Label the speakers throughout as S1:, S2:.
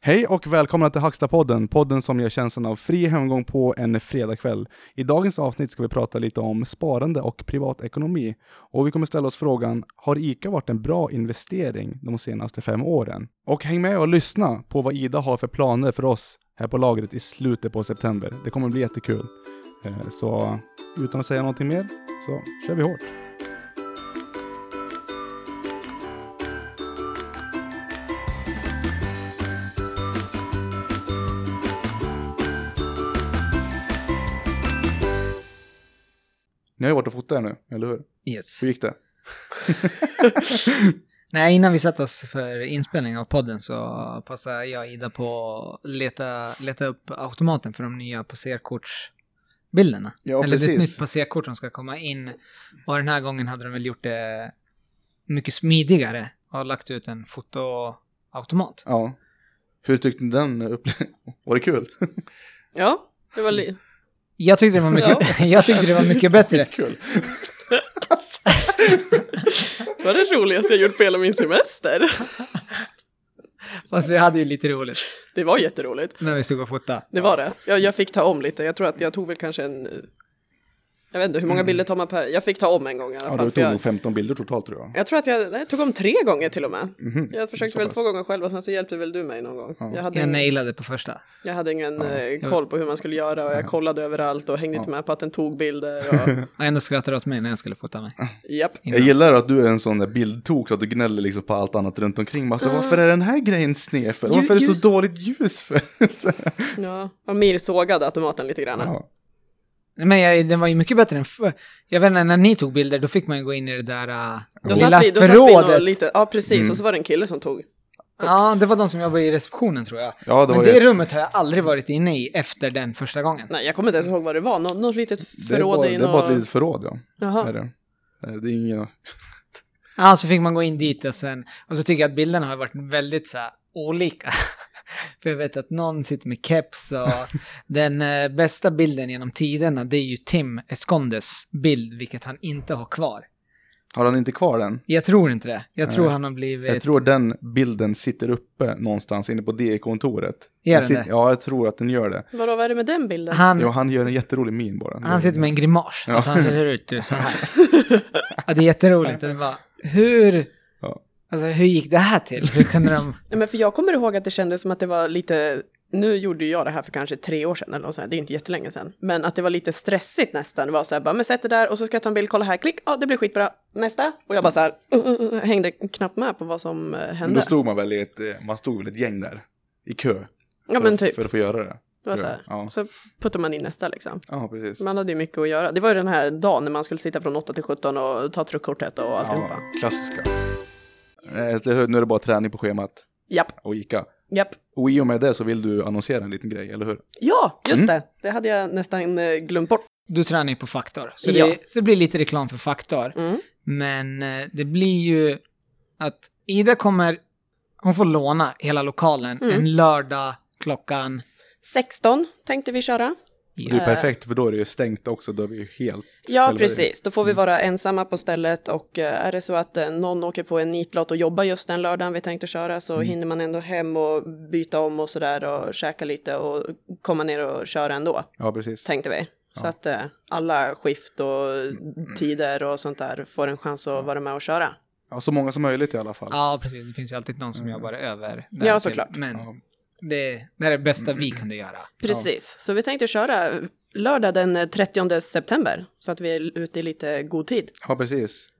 S1: Hej och välkomna till Hackstapodden, podden som ger känslan av fri hemgång på en fredagkväll. I dagens avsnitt ska vi prata lite om sparande och privatekonomi. Och vi kommer ställa oss frågan, har ICA varit en bra investering de senaste fem åren? Och häng med och lyssna på vad Ida har för planer för oss här på lagret i slutet på september. Det kommer bli jättekul. Eh, Så utan att säga någonting mer så kör vi hårt. Ni har ju varit och fotat er nu, eller hur?
S2: Yes.
S1: Hur gick det?
S2: Nej, innan vi satte oss för inspelning av podden så passade jag och Ida på att leta, leta upp automaten för de nya passerkortsbilderna.
S1: Ja,
S2: Eller det är ett
S1: precis.
S2: nytt passerkort som ska komma in. Och den här gången hade de väl gjort det mycket smidigare och lagt ut en fotoautomat.
S1: Ja. Hur tyckte ni den upplevelsen? Var det kul?
S3: Ja, det var li-
S2: Jag tyckte det var mycket, jag tyckte det var mycket bättre.
S1: Kul.
S3: det var det roligaste jag gjort på hela min semester.
S2: Fast vi hade ju lite roligt
S3: Det var jätteroligt.
S2: när vi stod och fotade.
S3: Det var det. Jag, jag fick ta om lite. Jag tror att jag tog väl kanske en... eh, Jag vet inte, hur många bilder tar man per... Jag fick ta om en gång i alla
S1: Ja,
S3: fall.
S1: du
S3: för
S1: tog
S3: jag,
S1: nog 15 bilder totalt tror jag.
S3: jag tror att jag, nej, jag tog om tre gånger till och med.
S1: Mhm.
S3: Jag försökte
S1: Så
S3: väl
S1: pass.
S3: två gånger själv och sen så hjälpte väl du mig någon gång.
S1: Ja.
S3: Jag hade
S2: Jag
S3: ingen,
S2: nailade på första.
S3: jag hade ingen
S1: Ja.
S3: eh, koll på hur man skulle göra och jag kollade överallt och hängde inte med på att den tog bilder. Och,
S2: Och ändå skrattade du åt mig när jag skulle fota mig.
S3: japp.
S1: Jag
S2: Innan.
S1: gillar att du är en sån där bildtok så att du gnäller liksom på allt annat runt omkring. Alltså, varför är den här grejen sned för?
S2: Ju-
S1: Varför är det
S2: ljus-
S1: så dåligt ljus för? Så-
S3: Ja. Och Mir sågade automaten lite grann.
S1: ja.
S2: Nej, Men jag, den var ju mycket bättre än för, Jag vet inte, när ni tog bilder då fick man ju gå in i det där uh,
S3: Då
S2: lilla
S3: satt vi, då satt vi nog
S2: förrådet.
S3: lite, ja precis,
S1: Mm.
S3: och så var det en kille som tog.
S2: ja, det var de som jobbade i receptionen tror jag.
S1: ja, det var
S2: Men det
S1: ju...
S2: rummet har jag aldrig varit inne i efter den första gången.
S3: Nej, jag kommer inte ens ihåg vad det var. Nå- något litet
S1: Det är,
S3: förråd
S1: bara, det
S3: i
S1: är bara
S3: något-
S1: ett litet förråd, ja. Är
S3: Jaha.
S1: det. Eh, det är inga...
S2: Ja, så fick man gå in dit och sen... Och så tycker jag att bilderna har varit väldigt så här, olika. För jag vet att någon sitter med keps och den eh, bästa bilden genom tiderna det är ju Tim Escondes bild, vilket han inte har kvar.
S1: Har han inte kvar den?
S2: Jag tror inte det. Jag tror
S1: Nej.
S2: han har blivit...
S1: Jag tror den bilden sitter uppe någonstans inne på DI-kontoret.
S2: Gör den
S1: sitter...
S2: det?
S1: Ja, jag tror att den gör det.
S3: Vadå, vad är det med den bilden?
S2: Han,
S1: Jo, han gör en jätterolig min bara.
S2: Han sitter med en grimas.
S1: Ja.
S2: Alltså han ser ut så här. Ja, det är jätteroligt. Det bara, hur...
S1: Ja.
S2: Alltså hur gick det här till? Hur kunde de...
S3: Nej, Men för jag kommer ihåg att det kändes som att det var lite, nu gjorde ju jag det här för kanske tre år sedan eller något sånt här, det är ju inte jättelänge sedan, men att det var lite stressigt nästan. Det var så här, bara, men sätt det där och så ska jag ta en bild, kolla här, klick, ja det blir skitbra, nästa. Och jag bara så här, uh, uh, uh, hängde knappt med på vad som eh,
S1: Men
S3: hände.
S1: då stod man väl i ett, eh, man stod väl ett gäng där. I kö.
S3: ja
S1: för
S3: men
S1: att-
S3: typ,
S1: För att få göra det.
S3: det var så
S1: tror
S3: här.
S1: jag. Ja.
S3: Så puttar man in nästa liksom.
S1: Ja, precis.
S3: Man hade ju mycket att göra. Det var ju den här dagen när man skulle sitta från 8 till 17 och ta truckkortet och alltihopa.
S1: Ja, klassiska. Eh, så hör- Nu är det bara träning på schemat
S3: Japp,
S1: och Ica.
S3: japp.
S1: Och i och med det så vill du annonsera en liten grej, eller hur?
S3: Ja, just
S1: Mm.
S3: det. Det hade jag nästan eh, glömt bort.
S2: Du tränar ju på Faktor. Så,
S3: Ja.
S2: det, så det blir lite reklam för Faktor.
S3: Mm.
S2: Men eh, det blir ju att Ida kommer... Hon får låna hela lokalen
S3: Mm.
S2: en lördag klockan...
S3: 16 tänkte vi köra.
S1: Det är ju
S3: Eh.
S1: perfekt, för då är det ju stängt också, då är vi ju helt... Eller
S3: Ja,
S1: vad är det?
S3: precis. Då får vi vara ensamma på stället och eh, är det så att eh, någon åker på en nitlott och jobbar just den lördagen vi tänkte köra så hinner man ändå hem och byta om och sådär och käka lite och komma ner och köra ändå,
S1: Ja, precis.
S3: tänkte vi. Så
S1: Ja.
S3: att eh, alla skift och tider och sånt där får en chans att vara med och köra.
S1: Ja, så många som möjligt i alla fall.
S2: Ja, precis. Det finns ju alltid någon som jobbar över.
S3: Ja,
S2: därtill.
S3: såklart.
S2: Men
S1: Ja.
S2: det, det här är det bästa vi kunde göra.
S3: Precis, så vi tänkte köra lördag den 30 september så att vi är ute i lite god tid.
S1: Ja, precis.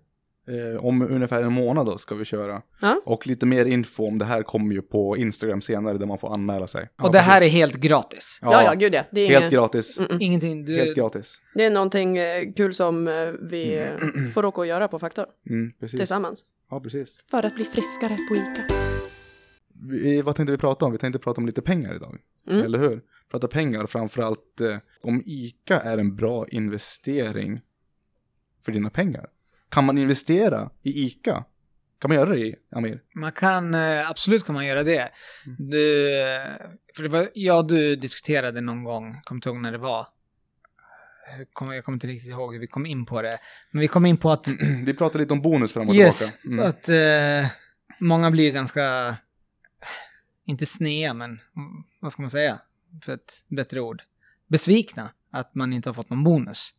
S1: Eh, om ungefär en månad då ska vi köra.
S3: Ja.
S1: Och lite mer info om det här kommer ju på Instagram senare där man får anmäla sig. Ja,
S2: Och det här är
S1: precis.
S2: helt gratis.
S3: Ja, ja, gud ja. Det är,
S1: Helt
S3: inget-
S1: gratis.
S3: Mm, mm.
S2: Ingenting du...
S1: Helt gratis.
S3: det är någonting eh, kul som eh, vi eh, får åka och göra på Faktor
S1: Mm, precis.
S3: tillsammans.
S1: Ja, precis.
S3: För att bli friskare på ICA.
S1: Vi, vad tänkte vi prata om? Vi tänkte prata om lite pengar idag.
S3: Mm.
S1: Eller hur? Prata pengar och framförallt eh, om ICA är en bra investering för dina pengar. Kan man investera i ICA? Kan man göra det, Amir?
S2: Man kan, eh, absolut kan man göra det. Du, eh, för det var, ja du diskuterade någon gång, kommer inte ihåg när det var. Jag kommer, jag kommer inte riktigt ihåg hur vi kom in på det. Men vi kom in på att,
S1: Vi pratade lite om bonus fram och
S2: yes,
S1: tillbaka. Mm.
S2: att eh, många blir ganska, inte snea, men mm, vad ska man säga för ett bättre ord? Besvikna att man inte har fått någon bonus.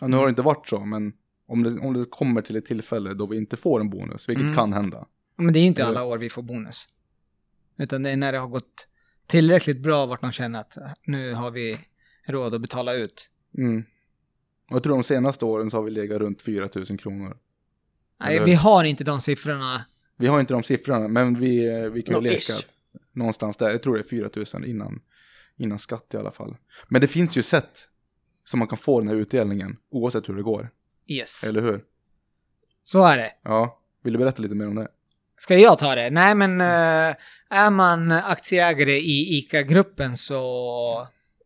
S1: Ja, nu har det inte varit så, men om det, om det kommer till ett tillfälle då vi inte får en bonus, vilket
S2: Mm.
S1: kan hända.
S2: Men det är ju inte
S1: Eller-
S2: alla år vi får bonus. Utan det är när det har gått tillräckligt bra vart de känner att äh, nu har vi råd att betala ut.
S1: Mm. Och jag tror de senaste åren så har vi legat runt 4 000 kronor.
S2: Nej,
S1: Eller-
S2: vi har inte de siffrorna.
S1: Vi har inte de siffrorna, men vi, eh, vi kan ju
S3: Nå,
S1: leka
S3: ish.
S1: någonstans där. Jag tror det är 4 000 innan, innan skatt i alla fall. Men det finns ju sätt som man kan få den här utdelningen, oavsett hur det går.
S2: Yes.
S1: Eller hur?
S2: Så är det.
S1: Ja, vill du berätta lite mer om det?
S2: Ska jag ta det? Nej, men eh, är man aktieägare i ICA-gruppen så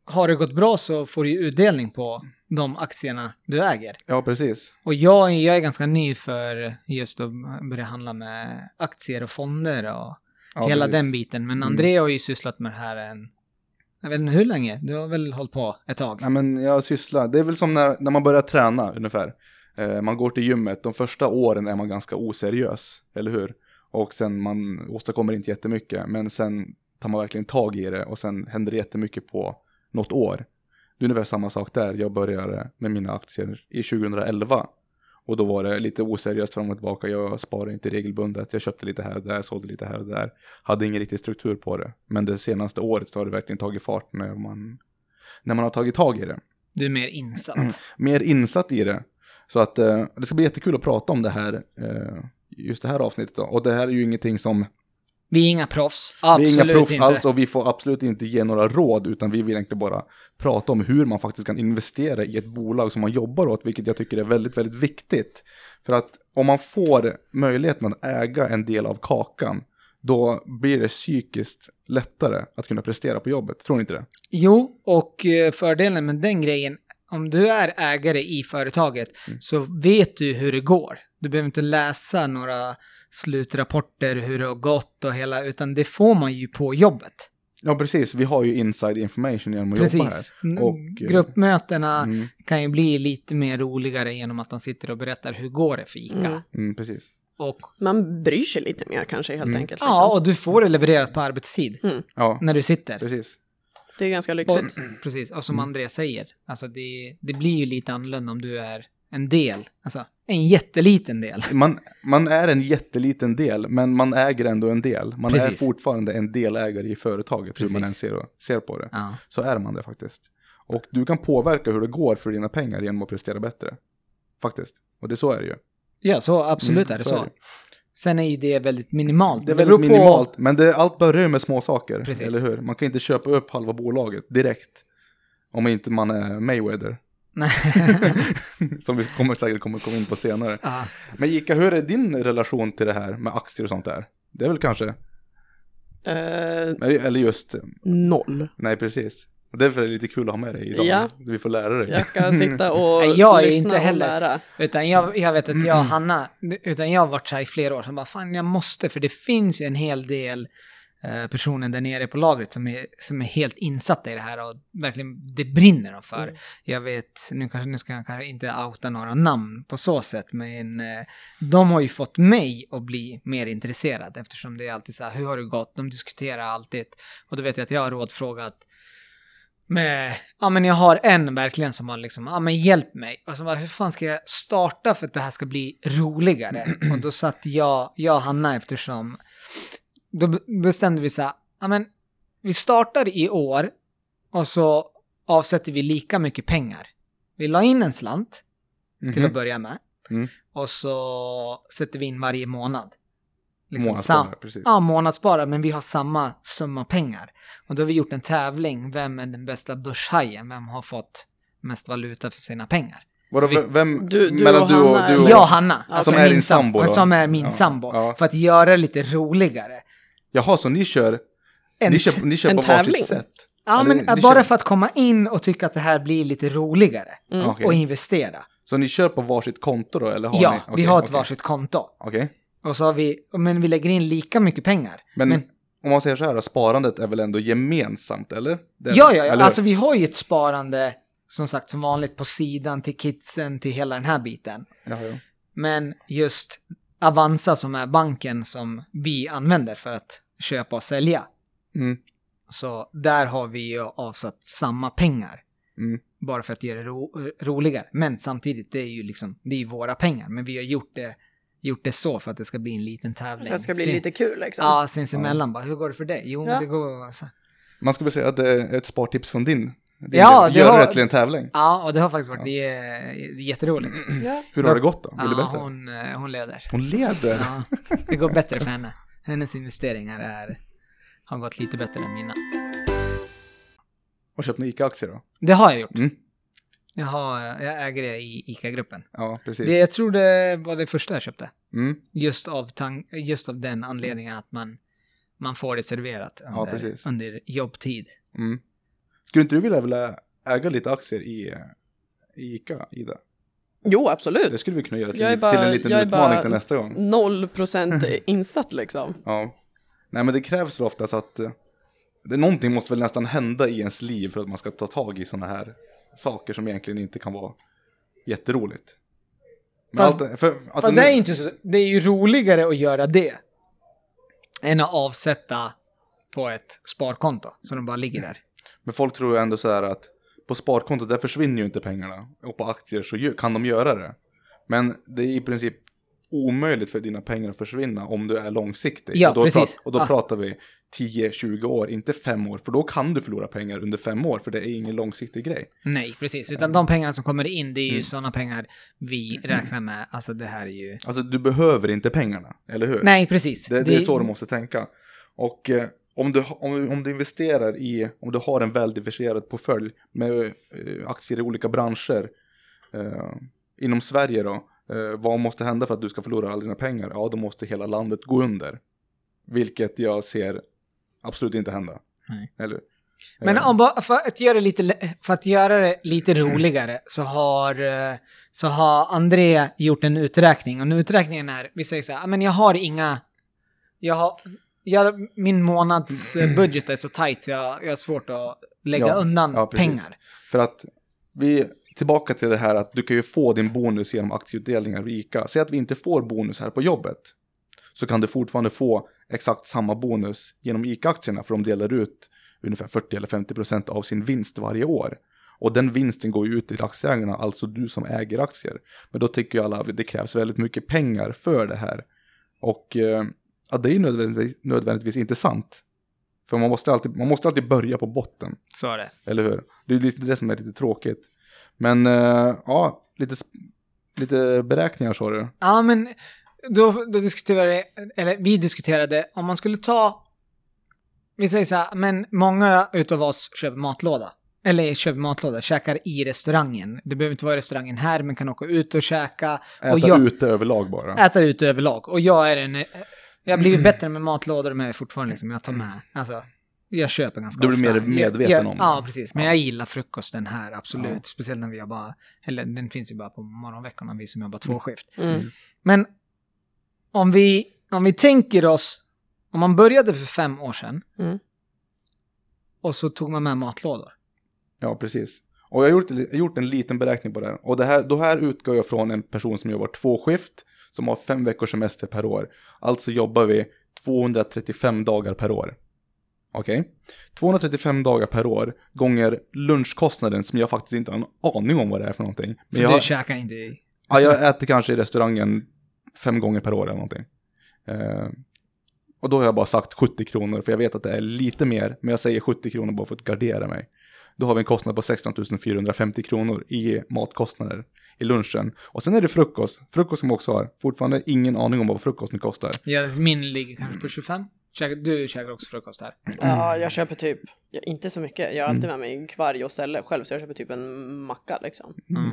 S2: har det gått bra så får du ju utdelning på de aktierna du äger.
S1: Ja, precis.
S2: Och jag, är- jag är ganska ny för just att börja handla med aktier och fonder och
S1: Ja,
S2: hela
S1: precis.
S2: den biten. Men
S1: Mm.
S2: André har ju sysslat med det här en... Jag vet inte hur länge? Du har väl hållit på ett tag?
S1: Nej, men jag sysslar. Det är väl som när, när man börjar träna ungefär. Eh, man går till gymmet, de första åren är man ganska oseriös, eller hur? Och sen man åstadkommer inte jättemycket, men sen tar man verkligen tag i det och sen händer det jättemycket på något år. Det är ungefär samma sak där. Jag började med mina aktier i 2011 och då var det lite oseriöst fram och tillbaka. Jag sparade inte regelbundet. Jag köpte lite här och där, sålde lite här och där. Hade ingen riktig struktur på det. Men det senaste året så har det verkligen tagit fart när man, när man har tagit tag i det
S2: Du är mer
S1: Mm.
S2: insatt.
S1: mer insatt i det. Så att eh, det ska bli jättekul att prata om det här, eh, just det här avsnittet då. Och det här är ju ingenting som,
S2: Vi är inga proffs. Absolut
S1: vi är inga proffs
S2: inte.
S1: alls och vi får absolut inte ge några råd, utan vi vill egentligen bara prata om hur man faktiskt kan investera i ett bolag som man jobbar åt, vilket jag tycker är väldigt, väldigt viktigt. För att om man får möjligheten att äga en del av kakan, då blir det psykiskt lättare att kunna prestera på jobbet. Tror ni inte det?
S2: Jo, och eh, fördelen med den grejen, om du är ägare i företaget
S1: Mm.
S2: så vet du hur det går. Du behöver inte läsa några slutrapporter, hur det har gått och hela, utan det får man ju på jobbet.
S1: Ja, precis. Vi har ju inside information genom att jobba här.
S2: Precis.
S1: Och,
S2: Mm,
S1: eh,
S2: Gruppmötena
S1: Mm,
S2: kan ju bli lite mer roligare genom att de sitter och berättar hur går det för ICA.
S3: Mm.
S1: mm, precis.
S2: Och,
S3: Man bryr sig lite mer kanske helt
S1: Mm.
S3: enkelt.
S2: ja,
S3: liksom. Mm.
S2: och du får det levererat på arbetstid
S1: Ja,
S2: när du sitter.
S1: precis.
S3: Det är ganska
S2: Och,
S3: lyxigt.
S2: precis, och som André säger, alltså det, det blir ju lite annorlunda om du är en del, alltså en jätteliten del.
S1: Man, man är en jätteliten del, men man äger ändå en del. Man
S2: Precis.
S1: är fortfarande en delägare i företaget, hur man än
S2: Precis.
S1: ser, ser på det.
S2: Ja.
S1: Så är man det faktiskt. Och du kan påverka hur det går för dina pengar genom att prestera bättre. Faktiskt. Och det så är det ju.
S2: ja, så absolut
S1: Mm,
S2: är det
S1: så
S2: så.
S1: är det.
S2: Sen är ju det väldigt minimalt.
S1: Det är
S2: beror
S1: väldigt
S2: på-
S1: minimalt, men det, allt börjar ju med små saker.
S2: Precis.
S1: Eller hur? Man kan inte köpa upp halva bolaget direkt. Om inte man är Mayweather.
S2: Nej.
S1: Som vi kommer, säkert kommer komma in på senare.
S2: ja.
S1: Men Ika, hur är din relation till det här med aktier och sånt där? Det är väl kanske,
S3: Eh,
S1: eller just
S3: noll.
S1: Nej, precis. Och därför är det lite kul att ha med dig idag.
S3: Ja.
S1: Vi får lära dig.
S3: Jag ska sitta och
S2: Nej, jag är
S3: lyssna
S2: inte heller-
S3: och lära.
S2: Utan jag, jag vet att jag och Hanna, utan jag har varit så här i flera år, som bara fan jag måste, för det finns ju en hel del eh, personer där nere på lagret som är, som är helt insatta i det här och verkligen, det brinner de för.
S3: Mm.
S2: Jag vet, nu, kanske, nu ska jag kanske inte outa några namn på så sätt, men eh, de har ju fått mig att bli mer intresserad eftersom det är alltid så här, hur har det gått? De diskuterar alltid. Och då vet jag att jag har rådfrågat med, ja men jag har en verkligen som har liksom, ja men hjälp mig. Och så bara, hur fan ska jag starta för att det här ska bli roligare? Och då satt jag, jag och Hanna eftersom, då be- bestämde vi så här, ja men vi startar i år och så avsätter vi lika mycket pengar. Vi la in en slant
S1: Mhm.
S2: till att börja med.
S1: Mm.
S2: Och så sätter vi in varje månad. Liksom
S1: Månadssparare,
S2: sam-
S1: precis.
S2: Ja, månadsspara, men vi har samma summa pengar. Och då har vi gjort en tävling, vem är den bästa börshajen? Vem har fått mest valuta för sina pengar?
S1: Vadå,
S2: Så vi-
S1: vem,
S3: Du- du
S1: mellan
S3: och
S1: du och
S3: Hanna är-
S1: du
S3: Jo.
S1: och...
S2: Jag och Hanna,
S3: Som
S2: alltså
S1: Mm. är
S2: min
S1: din
S2: sam-
S1: sambo då?
S2: som är min
S1: Ja,
S2: sambo,
S1: ja.
S2: för att göra det lite roligare.
S1: Jaha, så ni kör,
S2: En-
S1: ni kör, ni kör
S3: en
S1: på varsitt
S3: tävling.
S1: sätt?
S2: ja,
S1: det-
S2: men
S1: det
S2: bara
S1: känner-
S2: för att komma in och tycka att det här blir lite roligare
S3: Mm.
S1: Okej.
S2: och investera.
S1: Så ni kör på varsitt konto då, eller har
S2: ja,
S1: ni?
S2: vi
S1: Okej,
S2: har ett
S1: okej.
S2: varsitt konto.
S1: Okej.
S2: Och så har vi, men vi lägger in lika mycket pengar.
S1: Men,
S2: Men-
S1: om man säger så här då, sparandet är väl ändå gemensamt, eller? Det är-
S2: Ja, ja, ja.
S1: eller
S2: Alltså vi har ju ett sparande, som sagt, som vanligt på sidan till kidsen, till hela den här biten.
S1: Ja, ja.
S2: Men just Avanza som är banken som vi använder för att köpa och sälja.
S1: Mm.
S2: Så där har vi ju avsatt samma pengar.
S1: Mm.
S2: Bara för att göra det ro- roligare. Men samtidigt, det är ju liksom, det är ju våra pengar. Men vi har gjort det, gjort det så för att det ska bli en liten tävling.
S3: Så det ska bli
S2: Sin-
S3: lite kul liksom.
S2: Ja, sinsemellan bara, hur går det för dig? Jo,
S3: Ja.
S2: det går så.
S1: Man skulle säga att det är ett spartips från din. din
S2: Ja,
S1: del.
S2: det
S1: Göra
S2: har-
S1: det till en tävling.
S2: Ja, och det har faktiskt varit eh, jätteroligt.
S3: Ja.
S1: Hur har det gått då? Vill du
S2: Ja,
S1: berätta? Hon,
S2: hon, eh, hon leder.
S1: leder.
S2: Ja, det går bättre för henne. Hennes investeringar är, har gått lite bättre än mina.
S1: Och köpt några ICA-aktier då?
S2: Det har jag gjort.
S1: Mm.
S2: Jag, har, jag äger det i ICA-gruppen.
S1: Ja, precis.
S2: Det, jag tror det var det första jag köpte.
S1: Mm.
S2: Just av, tan- just av den anledningen att man, man får det serverat
S1: Ja,
S2: under,
S1: precis.
S2: under jobbtid.
S1: Mm. Skulle inte du vilja, vilja äga lite aktier i, i ICA, Ida?
S3: Jo,
S1: Det
S3: absolut.
S1: skulle vi kunna göra till,
S3: Jag är
S1: lite- till
S3: bara-
S1: en liten
S3: jag är
S1: utmaning
S3: bara-
S1: till nästa
S2: Mm.
S1: gång.
S3: Noll procent insatt liksom.
S1: Ja. Nej, men det krävs väl oftast att eh, det, någonting måste väl nästan hända i ens liv för att man ska ta tag i sådana här saker som egentligen inte kan vara jätteroligt. Men
S2: Fast-
S1: allt, för, alltså
S2: Fast
S1: nu-
S2: det är ju inte så. Det är ju roligare att göra det. Än att avsätta på ett sparkonto. Så de bara ligger där.
S1: Men folk tror ju ändå så här att på sparkontot där försvinner ju inte pengarna och på aktier så ju- kan de göra det. Men det är i princip omöjligt för dina pengar att försvinna om du är långsiktig.
S2: Ja,
S1: och då,
S2: precis.
S1: och då
S2: Ah.
S1: pratar vi 10-20 år, inte 5 år, för då kan du förlora pengar under 5 år, för det är ingen långsiktig grej.
S2: Nej, precis. Utan de pengarna som kommer in, det är ju
S1: Mm.
S2: sådana pengar vi räknar med. Alltså det här är ju...
S1: Alltså du behöver inte pengarna, eller hur?
S2: Nej, precis.
S1: Det, det är så du måste tänka. Och eh, om, du, om, om du investerar i, om du har en väldiversifierad portfölj med eh, aktier i olika branscher eh, inom Sverige då, eh, vad måste hända för att du ska förlora alla dina pengar? Ja, då måste hela landet gå under. Vilket jag ser absolut inte hända.
S2: Nej.
S1: Eller,
S2: Men
S1: eh,
S2: om, bara- för, att göra det lite, lä- för att göra det lite
S1: Mm.
S2: roligare så har, eh, så har André gjort en uträkning. Och den uträkningen är, vi säger så här, "Ah, men jag har inga... Jag har, jag, min månadsbudget är så tajt så jag, jag har svårt att lägga
S1: Ja,
S2: undan
S1: ja, precis.
S2: pengar.
S1: För att vi, tillbaka till det här att du kan ju få din bonus genom aktieutdelningar i ICA. Säg att vi inte får bonus här på jobbet. Så kan du fortfarande få exakt samma bonus genom ICA-aktierna. För de delar ut ungefär 40 eller 50 procent av sin vinst varje år. Och den vinsten går ju ut till aktieägarna, alltså du som äger aktier. Men då tycker ju alla att det krävs väldigt mycket pengar för det här. Och eh, ja, det är ju nödvändigtvis, nödvändigtvis inte sant. För man måste, alltid, man måste alltid börja på botten.
S2: Så är det.
S1: Eller hur? Det är lite det som är lite tråkigt. Men eh, ja, lite, sp- lite beräkningar sa du.
S2: Ja, men då, då diskuterade, eller vi diskuterade om man skulle ta, vi säger så här, men många utav oss köper matlåda. Eller köper matlåda, käkar i restaurangen. Det behöver inte vara i restaurangen här, men kan åka ut och käka.
S1: Äta
S2: och jag,
S1: ute överlag bara.
S2: Äta ut överlag. Och jag är en, eh, jag har blivit bättre med matlådor, men jag är fortfarande liksom, jag tar med, alltså. Jag köper ganska
S1: Du blir
S2: ofta.
S1: mer medveten
S2: jag, jag,
S1: om det.
S2: Ja, precis. Men
S1: Ja.
S2: jag gillar frukosten här, absolut.
S1: Ja.
S2: Speciellt när vi har bara, eller den finns ju bara på morgonveckorna, vi som jobbar två skift.
S3: Mm.
S2: Men om vi, om vi tänker oss, om man började för fem år sedan
S3: Mm.
S2: och så tog man med matlådor.
S1: Ja, precis. Och jag har gjort, jag har gjort en liten beräkning på det här. Och det här, då här utgår jag från en person som jobbar två skift, som har fem veckors semester per år. Alltså jobbar vi 235 dagar per år. Okej? 235 dagar per år gånger lunchkostnaden som jag faktiskt inte har en aning om vad det är för någonting.
S2: För
S1: jag,
S2: du käkar inte i...
S1: Ja, jag äter kanske i restaurangen fem gånger per år eller någonting. Eh, och då har jag bara sagt 70 kronor, för jag vet att det är lite mer, men jag säger 70 kronor bara för att gardera mig. Då har vi en kostnad på 16 450 kronor i matkostnader i lunchen. Och sen är det frukost, frukost som jag också har. Fortfarande ingen aning om vad frukosten kostar.
S2: Ja, min ligger kanske på 25. Käkar- Du käkar också frukost här.
S3: Ja, jag köper typ, ja, inte så mycket. Jag har alltid med mig kvarg och ställe själv så jag köper typ en macka liksom.
S2: Mm.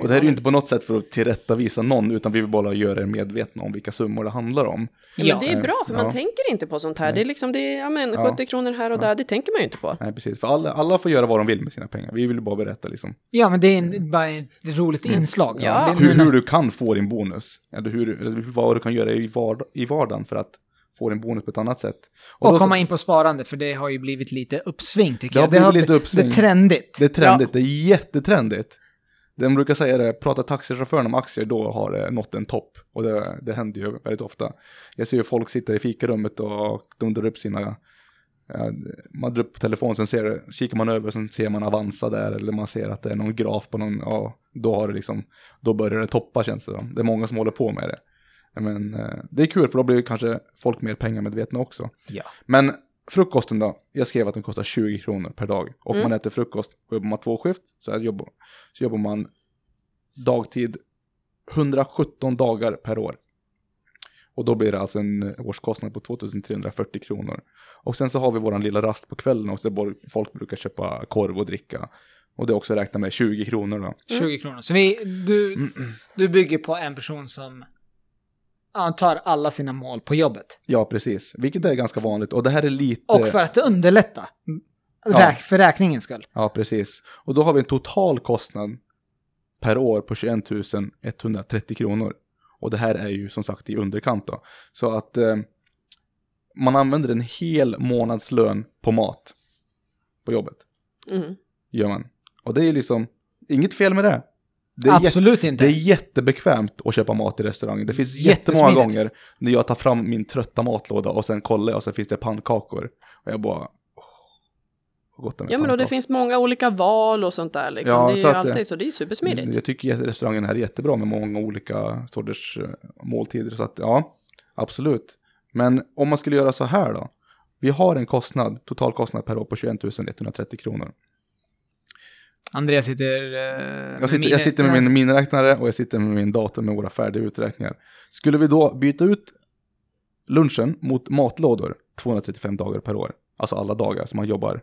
S1: Och det här är ju inte på något sätt för att tillrättavisa någon, utan vi vill bara göra er medvetna om vilka summor det handlar om.
S3: Ja, men det är bra för man
S1: Ja.
S3: tänker inte på sånt här. Det är liksom, det är, ja men
S1: Ja.
S3: 70 kronor här och där, det tänker man ju inte på.
S1: Nej, precis. För alla, alla får göra vad de vill med sina pengar. Vi vill bara berätta liksom
S2: Ja, men det är en, bara ett roligt inslag.
S3: Ja.
S2: Det är
S1: Mm. hur,
S2: nu-
S1: hur du kan få din bonus. Eller hur, eller hur- vad du kan göra i, vard i vardagen för att få din bonus på ett annat sätt.
S2: Och,
S1: då-
S2: komma in på sparande, för det har ju blivit lite uppsving tycker
S1: Det har
S2: jag.
S1: blivit lite uppsving.
S2: Det är trendigt.
S1: Det är trendigt, det är jättetrendigt. De brukar säga det, pratar taxichauffören om aktier då har det nått en topp. Och det, det händer ju väldigt ofta. Jag ser ju folk sitta i fikarummet och de drar upp sina, eh, man drar upp telefonen, sen ser, kikar man över, sen ser man Avanza där eller man ser att det är någon graf på någon, ja, då har det liksom, då börjar det toppa känns det som. Det är många som håller på med det. Men eh, det är kul för då blir kanske folk mer pengamedvetna också.
S2: Ja.
S1: Men frukosten då? Jag skrev att den kostar 20 kronor per dag. Och
S3: Mm.
S1: man äter frukost och jobbar man två skift så, är jobb, så jobbar man dagtid 117 dagar per år. Och då blir det alltså en årskostnad på 2340 kronor. Och sen så har vi våran lilla rast på kvällen också där bor- folk brukar köpa korv och dricka. Och det är också räknat med 20 kronor då.
S2: 20 kronor. Så vi,
S1: Mm.
S2: du, du bygger på en person som ja, tar alla sina mål på jobbet.
S1: Ja, precis. Vilket är ganska vanligt. Och det Mm. här är lite...
S2: Och för att underlätta. Räk, för räkningens skull.
S1: Ja, precis. Och då har vi en total kostnad per år på 21 130 kronor. Och det här är ju som sagt i underkant då. Så att eh, man använder en hel månadslön på mat på jobbet.
S3: Mm.
S1: Gör man. Och det är ju liksom inget fel med det. det är jätte-
S2: Absolut inte.
S1: det är jättebekvämt att köpa mat i restaurang. Det finns
S2: Jättesmidigt.
S1: jättemånga gånger när jag tar fram min trötta matlåda och sen kollar jag och så finns det pannkakor. Och jag bara... åh, vad gott det är med
S3: Ja, men och det
S1: pannkakor.
S3: finns många olika val och sånt där liksom.
S1: Ja,
S3: det är
S1: så
S3: ju
S1: att det- Mm,
S3: alltid så, det är ju supersmidigt.
S1: Jag tycker att restaurangen här är jättebra med många olika sorters eh, måltider. Så att ja, absolut. Men om man skulle göra så här då. Vi har en kostnad, total kostnad per år på 21 130 kronor.
S2: Andreas sitter... eh, med
S1: Jag sitter,
S2: mine-
S1: jag sitter med min miniräknare och jag sitter med min dator med våra färdiga uträkningar. Skulle vi då byta ut lunchen mot matlådor 235 dagar per år, alltså alla dagar som man jobbar,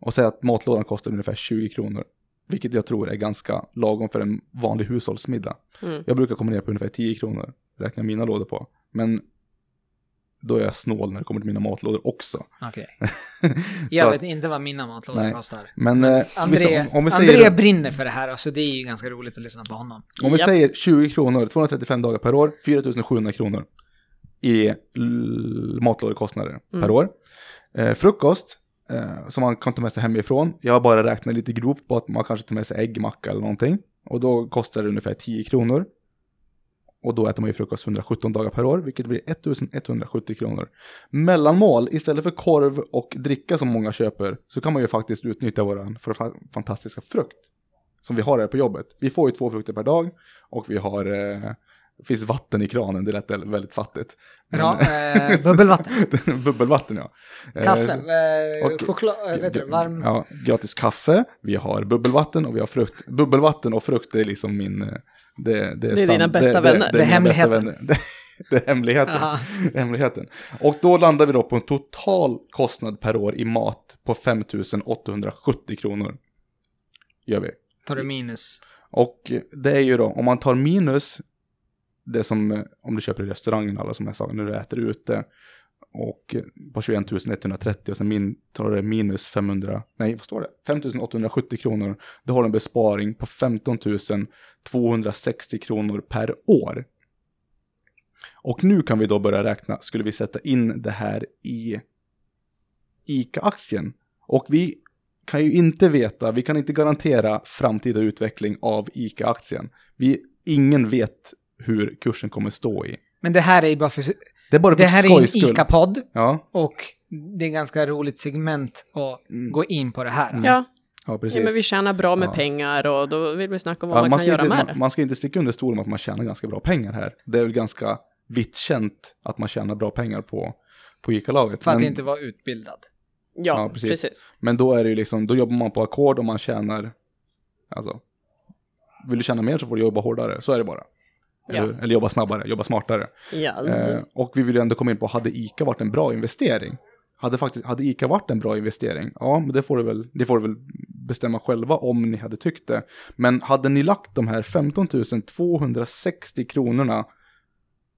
S1: och säga att matlådan kostar ungefär 20 kronor, vilket jag tror är ganska lagom för en vanlig hushållsmiddag.
S3: Mm.
S1: Jag brukar komma ner på ungefär 10 kronor, räknar mina lådor på. Men då är jag snål när det kommer till mina matlådor också.
S2: Okej.
S1: Så
S2: Jag
S1: att-
S2: vet inte vad mina matlådor
S1: Nej.
S2: kostar.
S1: Men eh, om vi,
S2: André,
S1: om, om vi säger...
S2: André brinner för det här, så alltså det är ju ganska roligt att lyssna på honom.
S1: Om vi
S3: Japp.
S1: säger 20 kronor, 235 dagar per år, 4700 kronor i l- matlådekostnader per
S3: Mm.
S1: år. Eh, frukost, eh, som man kan ta med sig hemifrån. Jag har bara räknat lite grovt på att man kanske tar med sig äggmacka eller någonting. Och då kostar det ungefär 10 kronor. Och då äter man ju frukost 117 dagar per år, vilket blir 1170 kronor. Mellanmål, istället för korv och dricka som många köper, så kan man ju faktiskt utnyttja våran fa- fantastiska frukt som vi har här på jobbet. Vi får ju två frukter per dag och vi har, eh, det finns vatten i kranen, det lät väldigt fattigt. Men-
S2: Bra, eh, bubbelvatten.
S1: bubbelvatten ja. Eh,
S2: Kaffe,
S1: så-
S2: eh,
S1: och-
S2: choklad, eh, vad heter det, varm...
S1: Ja, gratis kaffe, vi har bubbelvatten och vi har frukt. Bubbelvatten och frukt är liksom min... eh, Det, det,
S3: är dina bästa
S1: det,
S3: vänner.
S1: Det,
S2: Det
S1: det,
S2: är
S1: är mina bästa
S2: hemligheten.
S1: vänner. Det, det är hemligheten.
S2: Aha.
S1: hemligheten. Och då landar vi då på en total kostnad per år i mat på 5 870 kronor. Gör vi.
S2: Tar du minus?
S1: Och det är ju då, om man tar minus det som, eh, om du köper i restaurangen, alla som jag sa, när du äter ute, och eh, på 21 130 och sen min, tar det minus 500, nej vad står det? 5 870 kronor, då har du en besparing på 15 260 kronor per år. Och nu kan vi då börja räkna, skulle vi sätta in det här i ICA-aktien? Och vi kan ju inte veta, vi kan inte garantera framtida utveckling av ICA-aktien. Vi, ingen vet hur kursen kommer stå i.
S2: Men det här är ju bara för...
S1: Det är bara för
S2: Det här är
S1: skojs
S2: ju en
S1: skull.
S2: ICA-podd
S1: Ja,
S2: och det är ganska roligt segment att
S1: Mm.
S2: gå in på det här.
S1: Mm.
S3: Ja,
S1: ja precis.
S3: ja, men vi tjänar bra med
S1: Ja.
S3: pengar och då vill vi snacka om vad
S1: Ja,
S3: man, kan
S1: ska
S3: göra
S1: inte,
S3: med
S1: man, man ska inte sticka under stol med att man tjänar ganska bra pengar här. Det är väl ganska vitt känt att man tjänar bra pengar på, på ICA-laget.
S2: För att
S1: Men-
S2: inte vara utbildad.
S3: det. Ja,
S1: ja, precis.
S3: precis.
S1: Men då är det ju liksom, då jobbar man på ackord och man tjänar, alltså, vill du tjäna mer så får du jobba hårdare, så är det bara.
S3: Yes.
S1: Eller, eller jobba snabbare, jobba smartare.
S3: Yes.
S1: Eh, och vi vill ju ändå komma in på, hade ICA varit en bra investering? Hade, faktiskt, hade ICA varit en bra investering? Ja, men det får, du väl, det får du väl bestämma själva om ni hade tyckt det. Men hade ni lagt de här 15 260 kronorna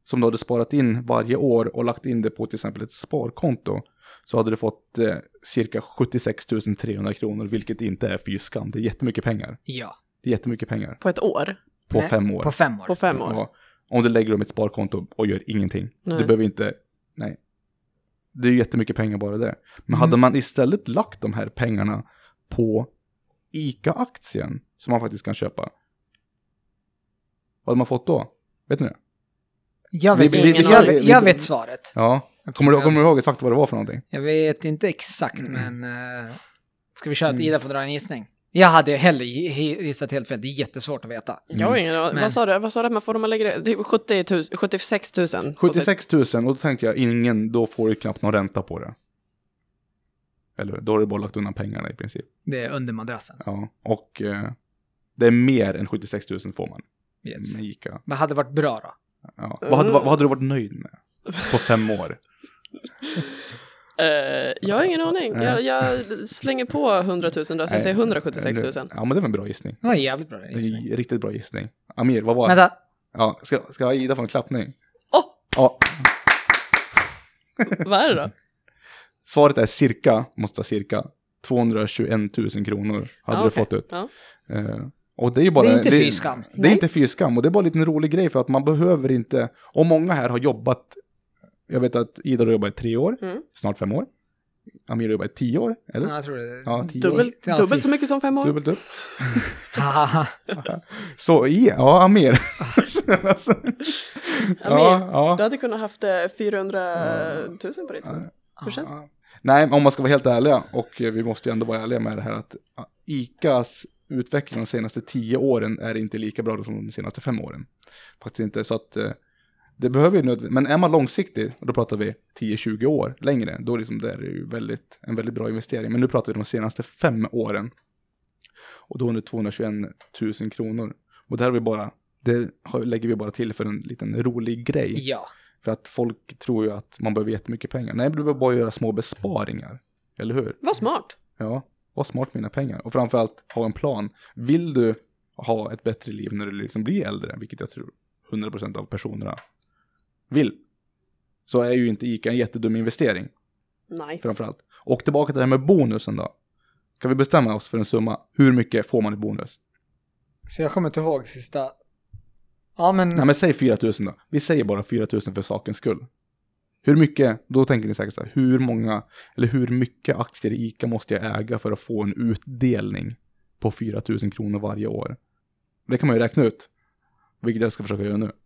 S1: som du hade sparat in varje år och lagt in det på till exempel ett sparkonto så hade du fått eh, cirka 76 300 kronor, vilket inte är fy skam. Det är jättemycket pengar.
S2: Ja,
S1: Det är jättemycket pengar
S3: På ett år?
S1: på
S2: Nej,
S1: fem år.
S2: på fem år.
S3: På fem år?
S1: Ja. Om du lägger dem i ett sparkonto och gör ingenting.
S3: Nej.
S1: Du behöver inte, nej. Det är ju jättemycket pengar bara det. Men
S2: Mm.
S1: hade man istället lagt de här pengarna på ICA-aktien som man faktiskt kan köpa. Vad hade man fått då? Vet ni det?
S2: Jag
S1: Vi-
S2: vet,
S1: vi- vi-
S2: jag,
S1: vi-
S2: vet,
S1: vi-
S2: jag vet svaret.
S1: Ja. Kommer du, kommer Mm. du ihåg exakt vad det var för någonting?
S2: Jag vet inte exakt, men... eh, ska vi köra
S1: Mm.
S2: att Ida får dra en gissning? Jag hade heller gi- hi- gissat helt fel. Det är jättesvårt att veta.
S1: Mm.
S3: Jag har ingen aning.
S2: Men-
S3: Vad sa du? Vad sa du att man får om man lägger det? är 70 000, 76 000.
S1: 76 000 och då tänker jag ingen, då får du knappt någon ränta på det. Eller då har du bara lagt undan pengarna i princip.
S2: Det är under madrassen.
S1: Ja. Och eh, det är mer än 76 000 får man
S2: Yes.
S1: med ICA.
S2: Vad hade varit bra då?
S1: Ja. Vad, hade, vad, vad hade du varit nöjd med på fem år?
S3: Eh, jag har ingen aning.
S1: Nej.
S3: Jag, jag slänger på 100 000 då, så jag
S1: Nej.
S3: säger 176 000.
S1: Ja, men det var en bra gissning.
S2: Det var en jävligt bra
S1: Det är
S2: gissning.
S1: en Riktigt bra gissning. Amir, vad var det?
S2: Vänta,
S1: Ja, ska, ska Ida få en klappning?
S3: Åh,
S1: Ja,
S3: vad är det då?
S1: svaret är cirka, måste vara cirka, 221 000 kronor hade
S3: Ja,
S1: du
S3: okej.
S1: fått ut.
S3: Ja.
S1: Eh, och det är ju bara...
S2: Ah, Det är inte fy skam.
S1: Det är
S3: Nej.
S1: inte fy skam och det är bara en liten rolig grej för att man behöver inte... Och många här har jobbat... Jag vet att Ida har jobbat i tre år,
S3: Mm.
S1: snart fem år. Amir har jobbat i tio år, eller?
S2: Ja, jag tror det.
S1: Ja, tio år.
S3: Dubbelt,
S2: Ja,
S3: dubbelt
S2: typ.
S3: så mycket som fem år?
S1: Dubbelt upp.
S2: Hahaha.
S1: Så, i- ja, Amir. alltså,
S3: Amir,
S1: ja.
S3: Du hade kunnat haft eh, 400 000 på ditt konto. Hur känns det?
S1: Ja. Nej, men om man ska vara helt ärliga, och eh, vi måste ju ändå vara ärliga med det här att ja, ICAs utveckling de senaste tio åren är inte lika bra som de senaste fem åren. Faktiskt inte, så att eh, det behöver ju nödvändigt, men är man långsiktig, och då pratar vi 10-20 år längre, då liksom det är det ju väldigt, en väldigt bra investering. Men nu pratar vi de senaste fem åren. Och då är det 221 000 kronor. Och det här har vi bara, det har- lägger vi bara till för en liten rolig grej.
S2: typ. Ja.
S1: För att folk tror ju att man behöver jättemycket pengar. Nej, du behöver bara göra små besparingar. Eller hur?
S3: Vad smart.
S1: Ja, var smart med dina pengar. Och framförallt, ha en plan. Vill du ha ett bättre liv när du liksom blir äldre, vilket jag tror 100% av personerna vill, så är ju inte ICA en jättedum investering,
S3: Nej.
S1: framförallt. Och tillbaka till det här med bonusen då. Kan vi bestämma oss för en summa? Hur mycket får man i bonus?
S2: Så jag kommer inte ihåg sista... Ja, men...
S1: Nej, men säg 4 000 då. Vi säger bara 4 000 för sakens skull. Hur mycket, då tänker ni säkert så här, hur många, eller hur mycket aktier i ICA måste jag äga för att få en utdelning på 4 000 kronor varje år? Det kan man ju räkna ut, vilket jag ska försöka göra nu.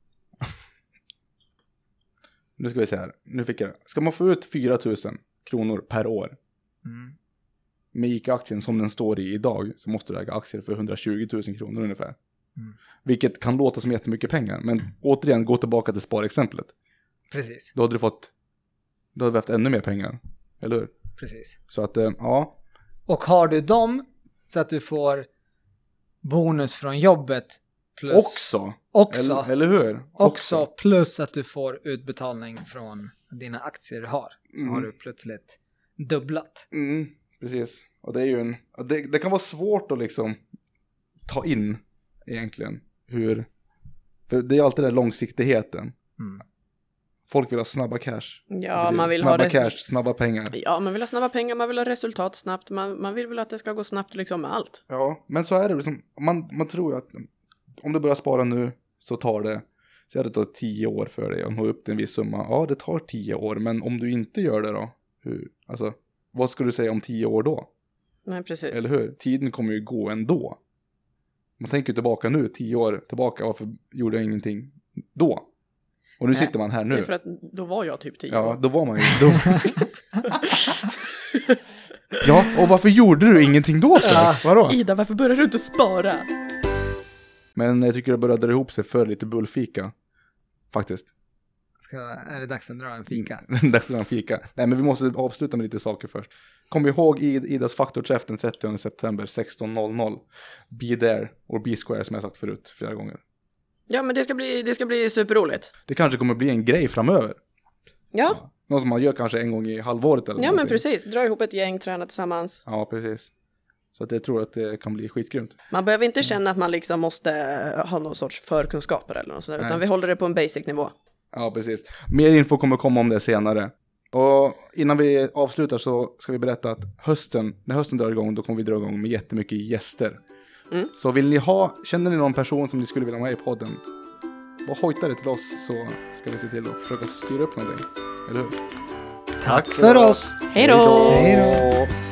S1: nu ska vi se här, nu fick jag det. Ska man få ut 4 000 kronor per år
S2: Mm.
S1: med ICA-aktien som den står i idag så måste du äga aktier för 120 000 kronor ungefär.
S2: Mm.
S1: Vilket kan låta som jättemycket pengar, men återigen, gå tillbaka till sparexemplet.
S2: Precis,
S1: Då hade du fått, då hade vi haft ännu mer pengar, eller hur?
S2: precis.
S1: Så att, eh, ja,
S2: Och har du dem så att du får bonus från jobbet plus...
S1: också.
S2: Också.
S1: Eller, eller hur?
S2: också plus att du får utbetalning från dina aktier du har. Så
S1: Mm.
S2: har du plötsligt dubblat.
S1: Mm, precis. Och det är ju en, och det, det kan vara svårt att liksom ta in egentligen hur, för det är ju alltid den långsiktigheten.
S2: Mm.
S1: Folk vill ha snabba cash.
S3: Ja, man vill
S1: snabba
S3: ha det.
S1: cash, snabba pengar.
S3: Ja, man vill ha snabba pengar, man vill ha resultat snabbt, man, man vill väl att det ska gå snabbt liksom med allt.
S1: Ja, men så är det. Liksom, man, man tror ju att om du börjar spara nu så tar det, säg att det tar tio år för dig att nå upp till en viss summa. Ja, det tar tio år, men om du inte gör det då? Hur? Alltså, vad ska du säga om tio år då?
S3: Nej, precis.
S1: Eller hur? Tiden kommer ju gå ändå. Man tänker ju tillbaka nu, tio år tillbaka, varför gjorde jag ingenting då? Och nu
S2: Nej,
S1: sitter man här
S3: Det är
S1: nu.
S3: för att då var jag typ 10
S1: Ja,
S3: år.
S1: då var man ju då... Ja, och varför gjorde du ingenting då för?
S2: Ja.
S1: Vadå?
S3: Ida, varför börjar du inte spara?
S1: Men jag tycker det börjar dra ihop sig för lite bullfika. Faktiskt.
S2: Ska, är det dags att dra en fika?
S1: Dags för en fika. Nej, men vi måste avsluta med lite saker först. Kom ihåg Id- Idas faktorträff den 30 september 16.00. Be there, or be square som jag sagt förut flera gånger.
S3: Ja, men det ska bli, det ska bli superroligt.
S1: Det kanske kommer bli en grej framöver.
S3: Ja,
S1: Något som man gör kanske en gång i halvåret eller
S3: ja men
S1: någonting.
S3: precis. Dra ihop ett gäng, träna tillsammans.
S1: Ja, precis. Så att jag tror att det kan bli skitgrymt.
S3: Man behöver
S1: Mm.
S3: inte känna att man liksom måste ha någon sorts förkunskaper eller något sånt där,
S1: Nej.
S3: utan vi håller det på en basic nivå.
S1: Ja, precis. Mer info kommer komma om det senare. Och innan vi avslutar så ska vi berätta att hösten, när hösten drar igång, då kommer vi dra igång med jättemycket gäster.
S3: Mm.
S1: Så vill ni ha, känner ni någon person som ni skulle vilja ha med i podden, bara hojta det till oss så ska vi se till att försöka styra upp någonting. Eller hur?
S2: Tack för oss!
S3: Hej då!
S2: Hej
S1: då!